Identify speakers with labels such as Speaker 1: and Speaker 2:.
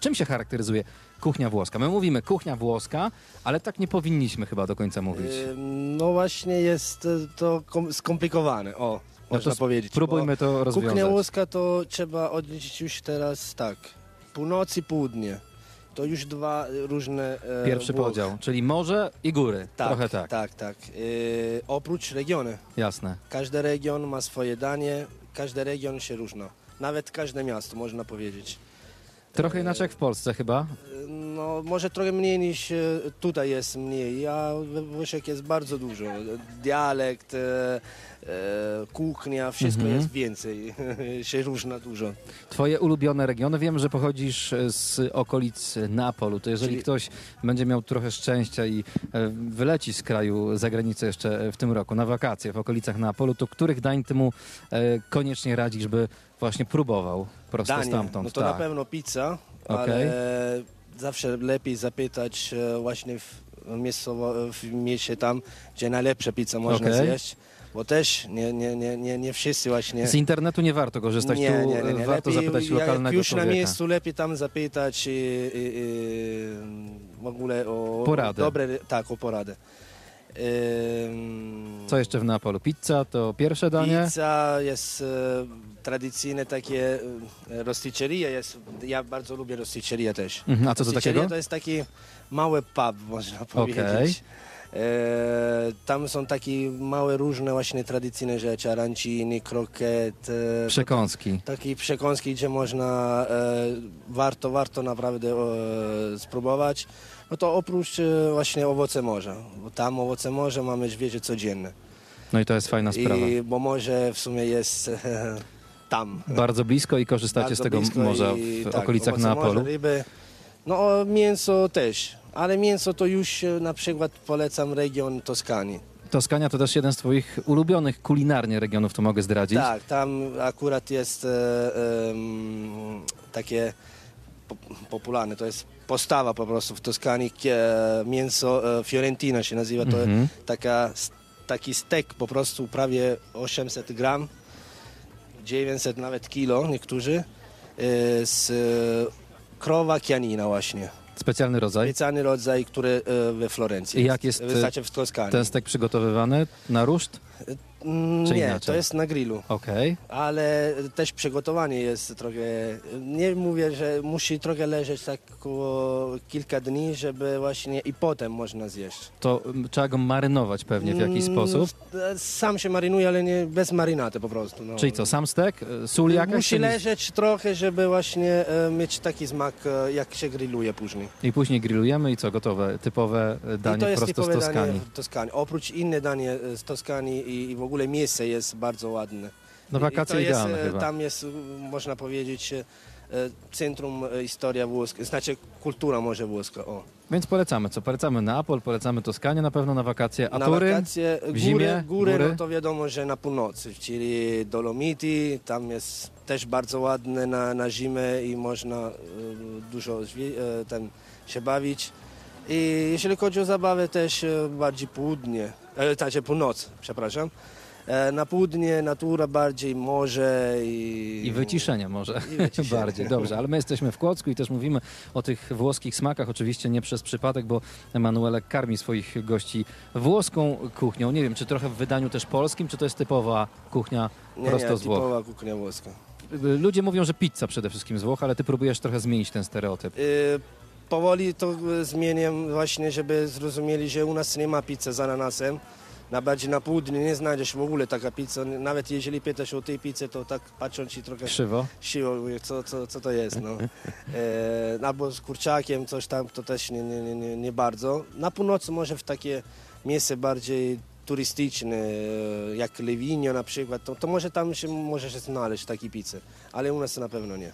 Speaker 1: Czym się charakteryzuje kuchnia włoska? My mówimy kuchnia włoska, ale tak nie powinniśmy chyba do końca mówić.
Speaker 2: Y, No właśnie jest y, to kom- skomplikowane, o,
Speaker 1: No
Speaker 2: można
Speaker 1: to
Speaker 2: powiedzieć.
Speaker 1: Próbujmy to
Speaker 2: bo Kuchnia
Speaker 1: rozwiązać.
Speaker 2: łoska to trzeba odliczyć już teraz tak, północ i południe. To już dwa y, różne... e,
Speaker 1: Pierwszy
Speaker 2: Włoch.
Speaker 1: podział, czyli morze i góry.
Speaker 2: Tak,
Speaker 1: Trochę tak,
Speaker 2: tak, tak. Y, oprócz regiony.
Speaker 1: jasne.
Speaker 2: Każdy region ma swoje danie, każdy region się różna. Nawet każde miasto, można powiedzieć.
Speaker 1: Trochę inaczej jak w Polsce chyba.
Speaker 2: Y, No, może trochę mniej niż e, tutaj jest mniej, a we Włoszech jest bardzo dużo. Dialekt, e, e, kuchnia, wszystko
Speaker 1: Mhm.
Speaker 2: jest więcej, się różna dużo.
Speaker 1: Twoje ulubione regiony, wiem, że pochodzisz e, z okolic Neapolu, to jeżeli
Speaker 2: Czyli-
Speaker 1: ktoś będzie miał trochę szczęścia i e, wyleci z kraju za granicę jeszcze e, w tym roku na wakacje w okolicach Neapolu, to których dań ty mu e, koniecznie radzisz, by właśnie próbował prosto
Speaker 2: Danie,
Speaker 1: stamtąd?
Speaker 2: no to na
Speaker 1: tak.
Speaker 2: pewno pizza,
Speaker 1: Okej.
Speaker 2: ale zawsze lepiej zapytać e, właśnie w, miejscowo, w mieście tam, gdzie najlepsza pizza można
Speaker 1: Okej.
Speaker 2: zjeść, bo też nie, nie, nie, nie, nie wszyscy właśnie...
Speaker 1: Z internetu nie warto korzystać,
Speaker 2: Nie,
Speaker 1: tu e,
Speaker 2: nie, nie, nie.
Speaker 1: warto
Speaker 2: Lepiej
Speaker 1: zapytać
Speaker 2: jak
Speaker 1: lokalnego
Speaker 2: już
Speaker 1: człowieka.
Speaker 2: na miejscu lepiej tam zapytać y, i, i, i, y, w ogóle o
Speaker 1: Porady.
Speaker 2: O dobre, tak, o poradę. Ym,
Speaker 1: Co jeszcze w Neapolu? Pizza to pierwsze danie?
Speaker 2: Pizza jest e, tradycyjne takie e, rosticceria jest. Ja bardzo lubię rosticceria też.
Speaker 1: Mhm, a co to
Speaker 2: Rosticceria
Speaker 1: takiego?
Speaker 2: to jest taki mały pub, można powiedzieć. E, tam są takie małe różne właśnie tradycyjne rzeczy, arancini, kroket, e,
Speaker 1: Przekąski.
Speaker 2: Takiej przekąski, gdzie można, e, warto, warto naprawdę e, spróbować. No to oprócz e, właśnie owoce morza, bo tam owoce morza mamy wiecie codzienne.
Speaker 1: No i to jest fajna sprawa.
Speaker 2: I, bo morze w sumie jest e, tam.
Speaker 1: Bardzo blisko i korzystacie
Speaker 2: Bardzo
Speaker 1: z tego
Speaker 2: blisko
Speaker 1: morza w
Speaker 2: i- tak,
Speaker 1: okolicach
Speaker 2: owoce
Speaker 1: Neapolu.
Speaker 2: Morza, ryby. No o, mięso też, ale mięso to już e, na przykład polecam region Toskanii.
Speaker 1: Toskania to też jeden z Twoich ulubionych kulinarnie regionów, to mogę zdradzić.
Speaker 2: Tak, tam akurat jest e, em, takie po, popularne, to jest postawa po prostu w Toskanii, kie- mięso e, Fiorentina się nazywa, to
Speaker 1: Mhm.
Speaker 2: taka, s- taki stek po prostu prawie 800 gram, 900 nawet kilo niektórzy, e, z e, krowa kianina właśnie.
Speaker 1: Specjalny rodzaj.
Speaker 2: Obiecany rodzaj, który e, we Florencji
Speaker 1: I jak jest, e,
Speaker 2: Wystarczy w Toskanii.
Speaker 1: Ten stek przygotowywany na ruszt?
Speaker 2: Mm,
Speaker 1: czy
Speaker 2: Nie,
Speaker 1: inaczej?
Speaker 2: to jest na grillu.
Speaker 1: Okej.
Speaker 2: ale też przygotowanie jest trochę. Nie mówię, że musi trochę leżeć tak około kilka dni, żeby właśnie i potem można zjeść.
Speaker 1: To mm, trzeba go marynować pewnie w jakiś
Speaker 2: Mm,
Speaker 1: sposób.
Speaker 2: Sam się marynuje, ale nie bez marynaty po prostu. No.
Speaker 1: Czyli co, sam stek, y, sól jakaś?
Speaker 2: Musi
Speaker 1: czyli-
Speaker 2: leżeć trochę, żeby właśnie e, mieć taki smak, e, jak się grilluje później.
Speaker 1: I później grillujemy i co, gotowe, typowe y,
Speaker 2: I
Speaker 1: danie
Speaker 2: to jest
Speaker 1: prosto z
Speaker 2: typowe
Speaker 1: Toskanii.
Speaker 2: danie w Toskanii. Oprócz inne danie e, z Toskanii i, i w ogóle miejsce jest bardzo ładne.
Speaker 1: No
Speaker 2: I-
Speaker 1: wakacje
Speaker 2: i to jest,
Speaker 1: idealne
Speaker 2: e,
Speaker 1: chyba.
Speaker 2: Tam jest, m, można powiedzieć, e, e, centrum e, historia włoska, znaczy kultura może włoska. O.
Speaker 1: Więc polecamy co? Polecamy Neapol, polecamy Toskanię na pewno na wakacje. A
Speaker 2: Na
Speaker 1: tury?
Speaker 2: wakacje, e, góry,
Speaker 1: zimie,
Speaker 2: góry,
Speaker 1: góry?
Speaker 2: No to wiadomo, że na północy, czyli Dolomity, tam jest też bardzo ładne na, na zimę i można e, dużo zwie- e, tam się bawić. I jeśli chodzi o zabawę też e, bardziej południe, e, znaczy północ, przepraszam. E, na południe natura bardziej, morze i...
Speaker 1: I wyciszenie może
Speaker 2: I wyciszenie.
Speaker 1: bardziej, dobrze, ale my jesteśmy w Kłodzku i też mówimy o tych włoskich smakach, oczywiście nie przez przypadek, bo Emanuele karmi swoich gości włoską kuchnią. Nie wiem, czy trochę w wydaniu też polskim, czy to jest typowa kuchnia
Speaker 2: Nie,
Speaker 1: prosto
Speaker 2: nie,
Speaker 1: z Włoch.
Speaker 2: typowa kuchnia włoska.
Speaker 1: Ludzie mówią, że pizza przede wszystkim z Włoch, ale ty próbujesz trochę zmienić ten stereotyp.
Speaker 2: Y, powoli to y, zmieniam właśnie, żeby zrozumieli, że u nas nie ma pizzy z ananasem. Na bardziej na południu nie znajdziesz w ogóle taka pizza. Nawet jeżeli pytasz o tej pizzy, to tak patrzą ci trochę
Speaker 1: Krzywo.
Speaker 2: siłą, mówię, co, co, co to jest. No. E, albo z kurczakiem, coś tam, to też nie, nie, nie, nie, nie bardzo. Na północy może w takie miejsce bardziej turystyczne, y, e, jak Lewinio na przykład, to, to może tam się możesz znaleźć takie pizzy, ale u nas na pewno nie.